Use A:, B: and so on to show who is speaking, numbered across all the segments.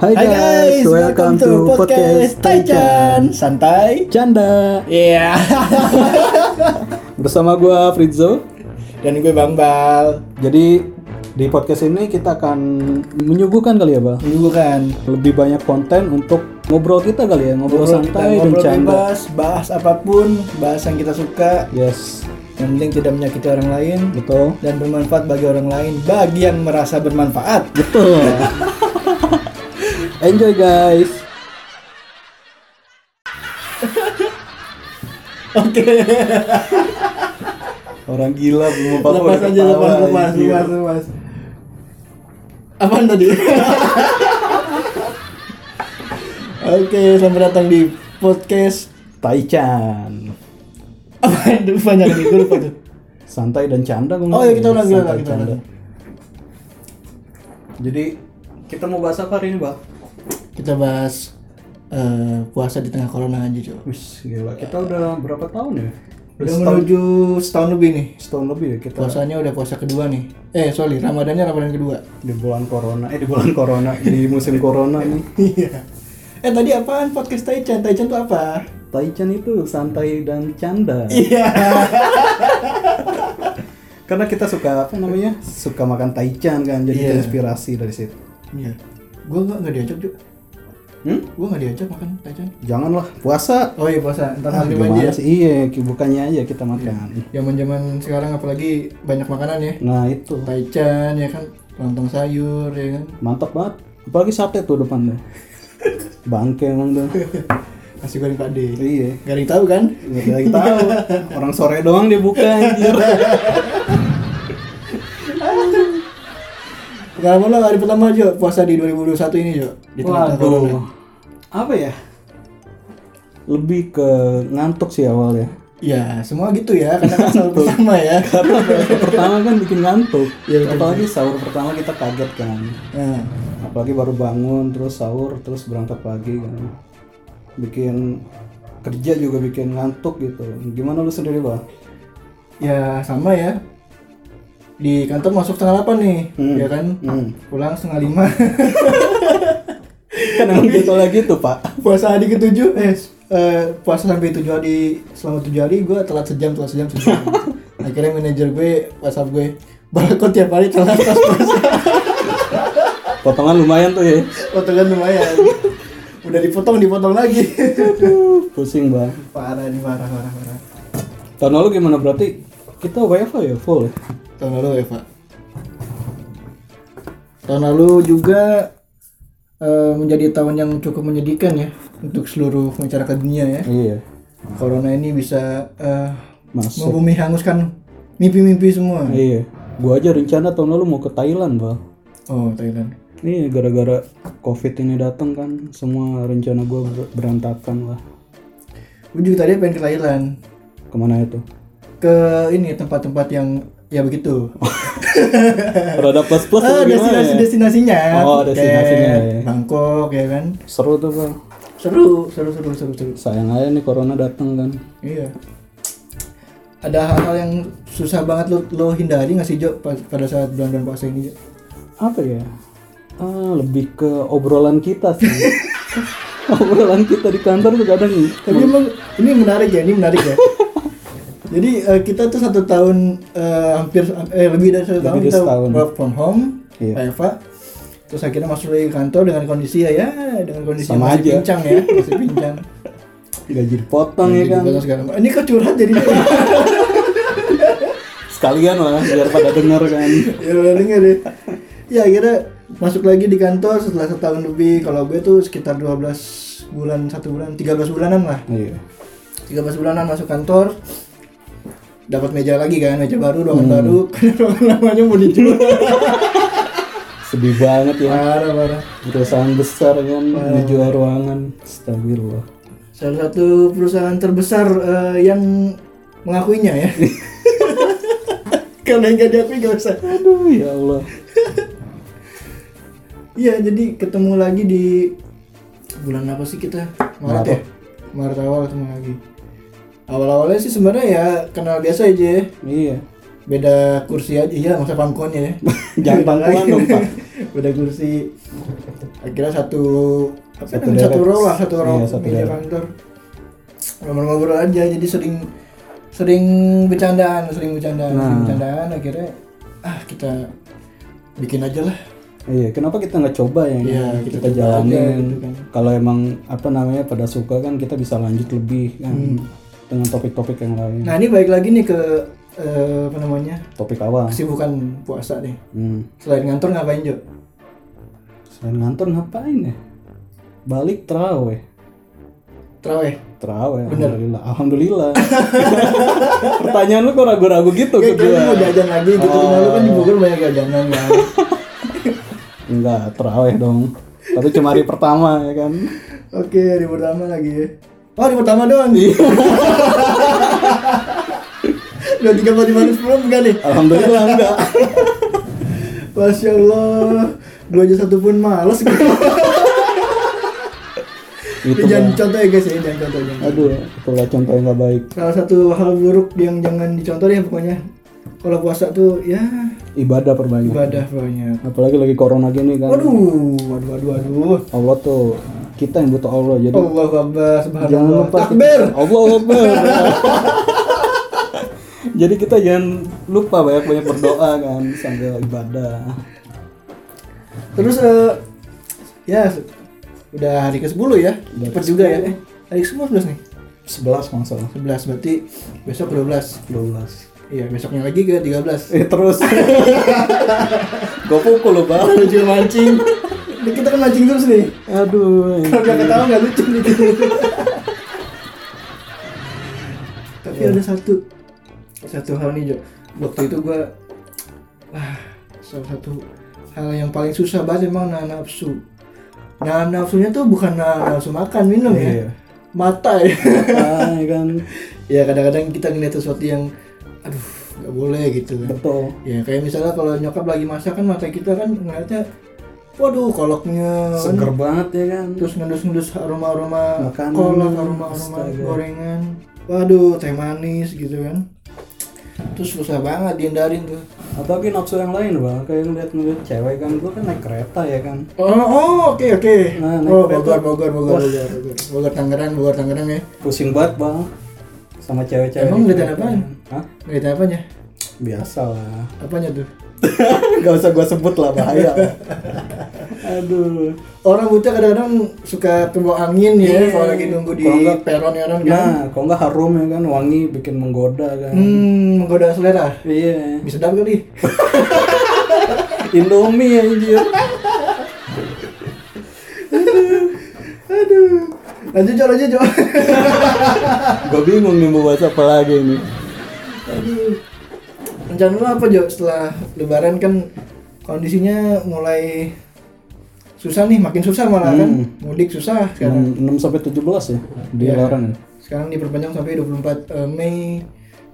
A: Hai guys, welcome to podcast Taichan
B: Santai
A: Canda
B: Iya
A: Bersama gua Fritzo
B: Dan gue Bang Bal
A: Jadi di podcast ini kita akan menyuguhkan kali ya Bal
B: Dulu kan
A: Lebih banyak konten untuk ngobrol kita kali ya Ngobrol, santai
B: kita,
A: dan
B: ngobrol
A: canda
B: bebas Bahas apapun Bahas yang kita suka
A: Yes,
B: Yang penting tidak menyakiti orang lain
A: betul
B: Dan bermanfaat bagi orang lain Bagi yang merasa bermanfaat
A: Betul Enjoy guys
B: Oke
A: Orang gila belum
B: Lepas aja lepas lepas lepas lepas iya. Apaan tadi? Oke selamat datang di podcast
A: Taichan
B: Apa itu banyak nih gue lupa tuh
A: Santai dan canda gua
B: Oh
A: ngomong.
B: ya kita ulang kita
A: Santai,
B: ulang kita
A: canda.
B: ulang.
A: Jadi kita mau bahas apa hari ini Bal?
B: Kita bahas eh, puasa di tengah corona aja coba.
A: Wis, gila. Kita Ya. udah berapa tahun ya?
B: Udah menuju setahun lebih nih.
A: setahun lebih ya kita
B: Puasanya udah puasa kedua nih. Eh sorry Ramadannya Ramadan kedua.
A: di bulan corona. Eh di bulan corona, di musim corona ini.
B: Iya. eh tadi apaan podcast Taichan? Taichan tuh apa?
A: Taichan itu santai dan canda.
B: Iya.
A: Karena kita suka apa namanya? Suka makan taichan kan, jadi
B: Iya.
A: inspirasi dari situ.
B: Iya. Gue nggak nggak diajak juga.
A: Hmm?
B: Gue nggak diajak makan Taichan.
A: Janganlah puasa.
B: Oh iya puasa. Ntar
A: Ah,
B: hari
A: gimana
B: manja.
A: sih? Iya, bukannya aja kita makan.
B: Zaman zaman sekarang apalagi banyak makanan ya.
A: Nah itu
B: Taichan ya kan. Lontong sayur ya kan.
A: mantap banget. Apalagi sate tuh depannya. Bangke emang tuh.
B: Nasi goreng Pak D.
A: iya.
B: Gak ada yang tahu kan?
A: Nggak ada yang tahu. Orang sore doang dia buka anjir.
B: Pengalaman lo hari pertama Jo, puasa di 2021 ini Jo di tengah-tengah corona.
A: Waduh. Apa ya? Lebih ke ngantuk sih awalnya.
B: Ya semua gitu ya, karena kan sahur pertama ya
A: Karena sahur pertama kan bikin ngantuk.
B: Iya, betul.
A: Apalagi sahur pertama kita kaget kan.
B: nah,
A: Apalagi baru bangun terus sahur terus berangkat pagi kan. Bikin kerja juga bikin ngantuk gitu. Gimana lu sendiri, Bang?
B: Ya sama ya Di kantor masuk setengah 8 nih,
A: Hmm.
B: ya kan
A: Hmm.
B: Pulang setengah 5
A: Kan emang gitu lagi tuh, Pak.
B: Puasa hari ke-7, eh s- eh, puasa sampai 7 hari Selama 7 hari gue telat sejam, telat sejam, sejam Akhirnya manajer gue, whatsapp gue Barcode tiap hari telat pas puasa
A: Potongan lumayan tuh ya.
B: Potongan kan lumayan Udah dipotong, dipotong lagi
A: Aduh, pusing, Bang.
B: Parah nih, parah, parah, parah
A: Tahun lalu gimana berarti? Kita WFH ya full ya?
B: Tahun lalu ya Pak. Tahun lalu juga eh, menjadi tahun yang cukup menyedihkan ya untuk seluruh masyarakat dunia ya.
A: Iya.
B: Corona ini bisa eh,
A: Masuk.
B: membumi hanguskan mimpi-mimpi semua.
A: Iya. Gua aja rencana tahun lalu mau ke Thailand, Bang.
B: Oh Thailand.
A: Nih gara-gara covid ini datang kan semua rencana gue berantakan lah.
B: Gue juga tadi pengen ke Thailand
A: Kemana itu?
B: ke ini tempat-tempat yang ya begitu.
A: Oh, Rada plus plus
B: Ah, destinasi
A: gimana? ya?
B: destinasinya.
A: Oh, destinasinya,
B: Kayak
A: ya.
B: Bangkok ya kan.
A: Seru tuh bang.
B: Seru, seru, seru, seru, seru.
A: Sayang aja nih corona datang kan.
B: Iya. Ada hal-hal yang susah banget lo, lo hindari nggak sih Jo pa- pada saat bulan-bulan puasa ini? Jo?
A: Apa ya? Ah, lebih ke obrolan kita sih. obrolan kita di kantor tuh kadang
B: Tapi emang ini menarik ya, ini menarik ya. Jadi eh, kita tuh satu tahun eh, hampir eh, lebih dari
A: Lebih
B: satu tahun
A: dari
B: kita
A: setahun.
B: work from home,
A: Iya.
B: WFH. Terus akhirnya masuk lagi ke kantor dengan kondisi ya, ya dengan kondisi yang
A: Sama
B: masih
A: aja.
B: pincang ya, masih pincang.
A: gaji dipotong ya kan.
B: Jadi segala macam. Ini kok curhat jadi
A: Sekalian lah biar pada denger kan.
B: ya udah denger deh ya akhirnya masuk lagi di kantor setelah setahun lebih kalau gue tuh sekitar 12 bulan satu bulan 13 bulanan lah
A: Iya.
B: 13 bulanan masuk kantor dapat meja lagi kan meja baru ruangan baru karena ruangan lamanya mau dijual
A: Sedih banget ya.
B: parah parah
A: Perusahaan besar kan dijual ruangan. Astagfirullah.
B: salah satu perusahaan terbesar eh, yang mengakuinya ya kalau yang gak diakui gak usah
A: Aduh ya Allah.
B: Iya, jadi ketemu lagi di bulan apa sih kita? Maret, ya? Maret awal ketemu lagi. Awal-awalnya sih sebenarnya ya kenal biasa aja ya.
A: Iya.
B: Beda kursi aja, iya masa pangkonnya ya.
A: Jangan
B: Beda
A: pangkuan
B: lagi.
A: dong, Pak.
B: Beda kursi. akhirnya satu apa
A: Satu
B: namanya, satu
A: daerah.
B: row lah satu row
A: Iya, satu
B: meja
A: daerah.
B: kantor ngobrol-ngobrol aja jadi sering sering bercandaan sering bercandaan sering
A: Nah.
B: bercandaan akhirnya ah kita bikin aja lah
A: Iya, kenapa kita nggak coba ya?
B: Iya,
A: kita,
B: kita coba aja
A: jalanin.
B: gitu kan.
A: Kalau emang apa namanya pada suka kan kita bisa lanjut lebih kan
B: Hmm.
A: dengan topik-topik yang lain.
B: nah ini balik lagi nih ke eh, apa namanya
A: Topik awal.
B: kesibukan puasa nih
A: Hmm.
B: selain ngantor ngapain Jo?
A: Selain ngantor ngapain ya? Balik teraweh.
B: Terawih
A: Teraweh. Alhamdulillah. Alhamdulillah. Pertanyaan lu kok ragu-ragu gitu ke
B: Kayak
A: gua?
B: mau jajan lagi gitu oh. lu kan di Bogor banyak jajanan kan
A: Enggak, teraweh dong. Tapi cuma hari pertama ya kan.
B: Oke hari pertama lagi ya Oh hari pertama doang nih Udah 35 sebelum enggak nih
A: Alhamdulillah enggak.
B: Masya Allah Gue aja satu pun males gitu
A: Itu
B: Jangan
A: Bang.
B: dicontoh ya guys ya Jangan contoh jangan.
A: Aduh, itulah contoh yang nggak baik.
B: Salah satu hal buruk yang jangan dicontoh ya pokoknya Kalau puasa tuh ya
A: Ibadah perbanyak.
B: ibadah banyak
A: Apalagi lagi corona gini kan.
B: Waduh, waduh, waduh, waduh.
A: Allah tuh kita yang butuh Allah jadi
B: Allah Akbar,
A: jangan
B: subhanallah.
A: lupa kita-
B: Oh, Takbir.
A: Allah Akbar. jadi kita jangan lupa banyak banyak berdoa kan sambil ibadah.
B: Terus eh, ya se- udah hari ke-10 ya.
A: Udah
B: Cepet juga ya. Eh, hari ke-10 11 nih.
A: 11 kalau nggak salah.
B: 11 berarti besok ke-12.
A: 12.
B: Iya, besoknya lagi ke 13.
A: Eh terus. Gue pukul lo bang.
B: Lucu mancing. Ini kita kan mancing terus nih.
A: Aduh.
B: Kalau nggak ketawa nggak lucu nih. Tapi ada satu satu hal nih Jo. Waktu itu gua ah, salah satu hal yang paling susah banget emang nahan nafsu. Nahan nafsunya tuh bukan nahan nafsu makan minum ya.
A: Iya.
B: Mata ya.
A: Ah, ya kan.
B: ya kadang-kadang kita ngeliat sesuatu yang aduh nggak boleh gitu kan.
A: Betul.
B: Ya kayak misalnya kalau nyokap lagi masak kan mata kita kan ngeliatnya waduh koloknya
A: Seger banget ya kan.
B: terus ngendus-ngendus aroma-aroma
A: Makanan,
B: kolak, aroma-aroma
A: astaga.
B: gorengan. Waduh, teh manis gitu kan. Terus susah banget dihindarin tuh.
A: Atau mungkin nafsu yang lain bang. Kayak ngeliat ngeliat cewek kan. Gue kan naik kereta ya kan.
B: Oh, oh, oke oke.
A: Nah, naik
B: Oh,
A: kereta.
B: Bogor, Bogor, Bogor, Bogor, Bogor. Bogor Tangerang, Bogor Tangerang ya.
A: pusing banget bang sama cewek-cewek
B: Emang
A: di
B: ngeliatin
A: kereta. kan?
B: apaan?
A: Hah?
B: Ngeliat apanya?
A: biasa lah
B: Apanya tuh?
A: nggak usah gua sebut lah bahaya aduh
B: Orang buta kadang-kadang suka kebawa angin ya
A: Iya.
B: kalau lagi nunggu di
A: Kalau nggak-
B: peron ya orang kan.
A: nah kalau nggak harum ya kan wangi bikin menggoda kan
B: Hmm, menggoda selera.
A: iya
B: Bisa sedap kali.
A: indomie ya anjir
B: Aduh. Lanjut, Jo, lanjut, Jo.
A: gua bingung nih mau bahas apa lagi ini
B: Aduh. Rencana lu apa Jo setelah lebaran kan kondisinya mulai susah nih, makin susah malah kan.
A: Hmm.
B: Mudik susah sekarang.
A: 6, sampai 17 ya di
B: Iya.
A: larang
B: Sekarang diperpanjang sampai 24 eh, Mei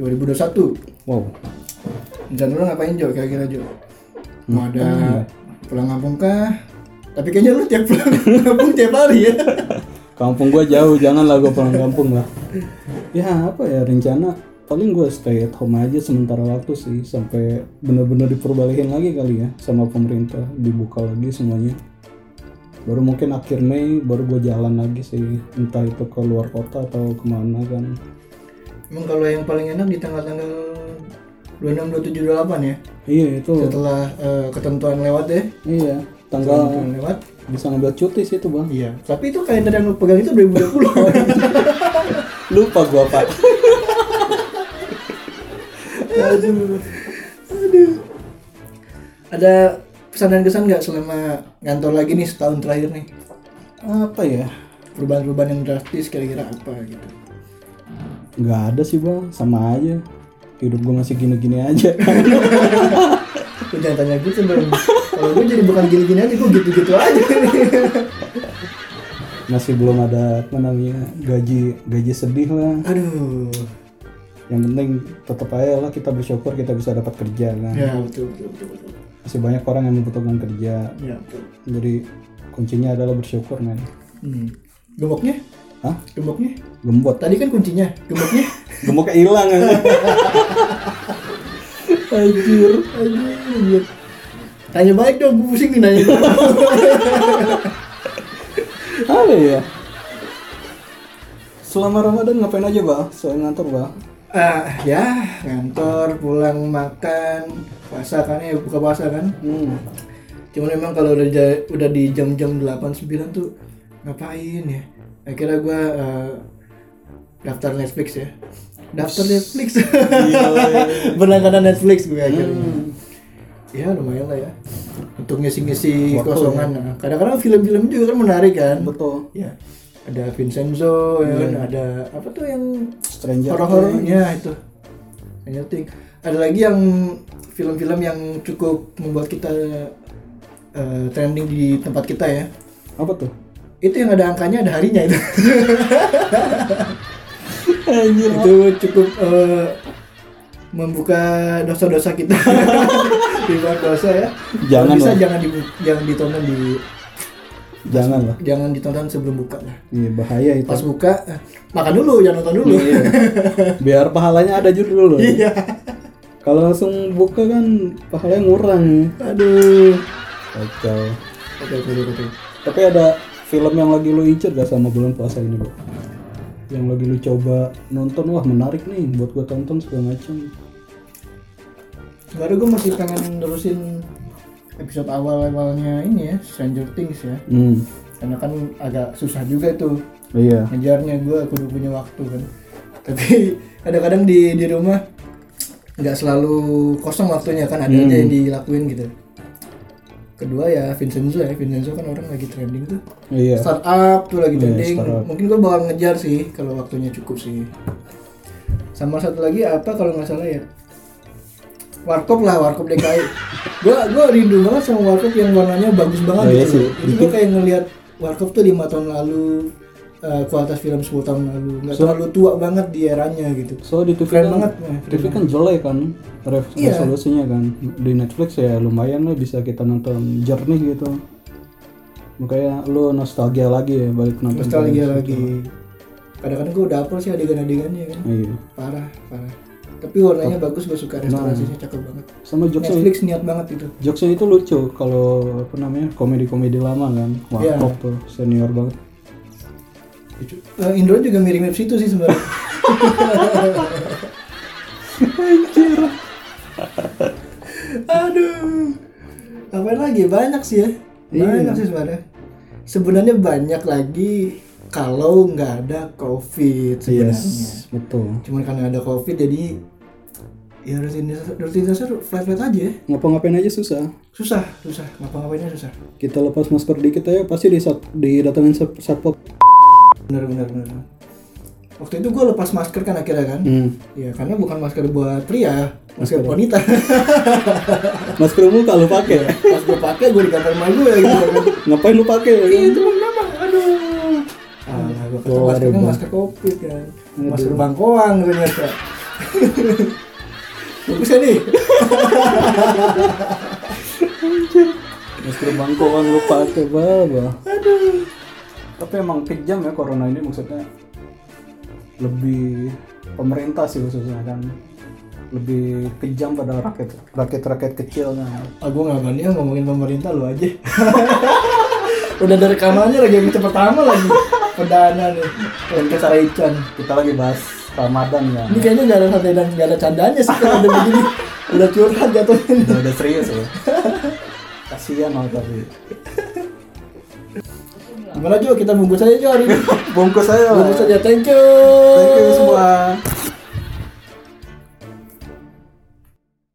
B: 2021.
A: wow
B: Rencana lu ngapain Jo kira-kira Jo? Mau
A: Hmm.
B: ada pulang kampung kah? Tapi kayaknya lu tiap pulang kampung tiap hari ya.
A: kampung gua jauh janganlah gua pulang kampung lah ya apa ya rencana paling gua stay at home aja sementara waktu sih sampai benar-benar diperbalikin lagi kali ya sama pemerintah dibuka lagi semuanya baru mungkin akhir Mei baru gua jalan lagi sih entah itu ke luar kota atau kemana kan
B: Emang kalau yang paling enak di tanggal-tanggal 26, 27, 28 ya.
A: iya itu
B: Setelah eh, ketentuan lewat ya.
A: iya tanggal
B: Ketentuan lewat.
A: bisa ngambil cuti sih itu bang
B: Iya. Tapi itu kalender yang lu pegang itu 2020.
A: lupa gua pak
B: Aduh. Aduh. Ada pesan dan kesan nggak selama ngantor lagi nih setahun terakhir nih?
A: apa ya
B: Perubahan-perubahan yang drastis kira-kira apa gitu?
A: nggak ada sih bang sama aja hidup gua masih gini-gini aja
B: Lu jangan tanya gitu dong. Kalau gue jadi bukan gini-gini aja, gue gitu-gitu aja.
A: masih belum ada apa namanya gaji gaji sedih lah
B: Aduh.
A: yang penting tetap aja lah kita bersyukur kita bisa dapat kerja kan
B: Ya betul betul betul. betul.
A: masih banyak orang yang membutuhkan kerja
B: Ya betul.
A: jadi kuncinya adalah bersyukur men
B: Hmm. Gemboknya?
A: Hah?
B: Gemboknya?
A: gembot
B: Tadi kan kuncinya, gemboknya?
A: gemboknya hilang ya.
B: Anjir, anjir. Tanya baik dong, gue pusing nih nanya.
A: kali ya selama Ramadan ngapain aja bah selain ngantor bah
B: Ah, ya ngantor, pulang makan, puasa kan ya buka puasa kan.
A: hmm.
B: Cuman memang kalau udah ja- udah di jam-jam 8 9 tuh ngapain ya? Akhirnya gua eh, daftar Netflix ya. Daftar Netflix.
A: Iya.
B: Berlangganan Netflix gue akhirnya.
A: Hmm.
B: Ya lumayan lah ya. Untuk
A: Waktu
B: ngisi-ngisi
A: ya.
B: kosongan. Nah, Kadang-kadang film-film juga kan menarik kan.
A: betul Hmm.
B: Ya. Ada Vincenzo, ya kan? ada apa tuh yang
A: stranger Things.
B: horor-horornya Iya, itu Stranger Things. ada lagi yang film-film yang cukup membuat kita eh, trending di tempat kita ya
A: apa tuh
B: itu yang ada angkanya ada harinya itu
A: Anjir.
B: itu cukup eh, membuka dosa-dosa kita di luar dosa ya
A: Jangan
B: Kalau bisa
A: lah.
B: jangan dibu- jangan ditonton di
A: jangan lah
B: jangan ditonton sebelum buka lah
A: iya bahaya itu
B: pas buka eh, makan dulu jangan nonton dulu
A: Iya. biar pahalanya ada juga dulu
B: iya
A: kalau langsung buka kan pahalanya ngurang
B: aduh
A: kacau
B: oke oke oke, oke
A: tapi ada film yang lagi lu incer gak sama bulan puasa ini bu yang lagi lu coba nonton wah menarik nih buat gua tonton segala macam
B: baru gue masih pengen nerusin episode awal-awalnya ini ya Stranger Things ya
A: hmm
B: karena kan agak susah juga itu
A: iya
B: ngejarnya gue kudu punya waktu kan tapi kadang-kadang di di rumah nggak selalu kosong waktunya kan ada aja yang dilakuin gitu kedua ya Vincenzo ya Vincenzo kan orang lagi trending tuh
A: iya
B: startup tuh lagi
A: Iya,
B: trending
A: startup.
B: mungkin gue bakal ngejar sih kalau waktunya cukup sih sama satu lagi apa kalau nggak salah ya warkop lah warkop DKI gue gue rindu banget sama warkop yang warnanya bagus banget
A: Oh, iya
B: gitu
A: sih.
B: loh. itu gue kayak ngelihat warkop tuh lima tahun lalu eh, kualitas film 10 tahun lalu nggak
A: So-
B: terlalu tua banget di eranya gitu
A: so di TV
B: Keren
A: kan
B: banget, ya,
A: TV kan jelek kan re-
B: Iya.
A: resolusinya kan di Netflix ya lumayan lah bisa kita nonton jernih gitu makanya lu nostalgia lagi ya balik nonton
B: nostalgia lagi kadang-kadang gue udah apel sih adegan-adegannya kan
A: iya
B: parah parah tapi warnanya bagus gue
A: Nah.
B: suka restorasinya cakep banget
A: sama jokesnya
B: Netflix niat banget itu
A: jokesnya itu lucu kalau apa namanya komedi-komedi lama kan warkop tuh senior banget
B: Eh, Indro juga mirip-mirip situ sih sebenarnya.
A: anjir
B: Aduh. Apa lagi? Banyak sih ya.
A: Iya.
B: Banyak sih sebenarnya. Sebenarnya banyak lagi kalau nggak ada COVID sebenarnya.
A: yes betul
B: Cuman karena ada COVID jadi ya rutinitas rutinitasnya flat-flat aja ya.
A: ngapa-ngapain aja susah
B: Susah, susah. Ngapa-ngapainnya susah.
A: kita lepas masker dikit aja pasti disat, didatengin sat- satpol
B: Bener, bener, bener. Waktu itu gue lepas masker kan akhirnya kan.
A: hmm.
B: Ya karena bukan masker buat pria, masker wanita.
A: masker muka lu pakai
B: pas gue pakai gue di kamar mandi gue gitu kan
A: ngapain lu pakai ya kan?
B: itu kenapa aduh ah gue kata maskernya masker covid kan masker bangkoang ternyata bagus ya nih
A: masker bangkoan lu pakai baba tapi emang kejam ya corona ini maksudnya lebih pemerintah sih khususnya kan lebih kejam pada rakyat rakyat rakyat kecil kan
B: ah gue nggak berani ya ngomongin pemerintah lu aja udah dari rekamannya lagi yang pertama lagi perdana nih podcast Raican
A: kan, kita lagi bahas Ramadan ya
B: ini kayaknya nggak ada santai dan nggak ada candanya sih kalau udah begini udah curhat jatuhnya
A: udah, udah serius ya kasihan loh tapi
B: gimana Jo kita bungkus aja Jo hari ini
A: bungkus saya
B: bungkus aja thank you
A: thank you semua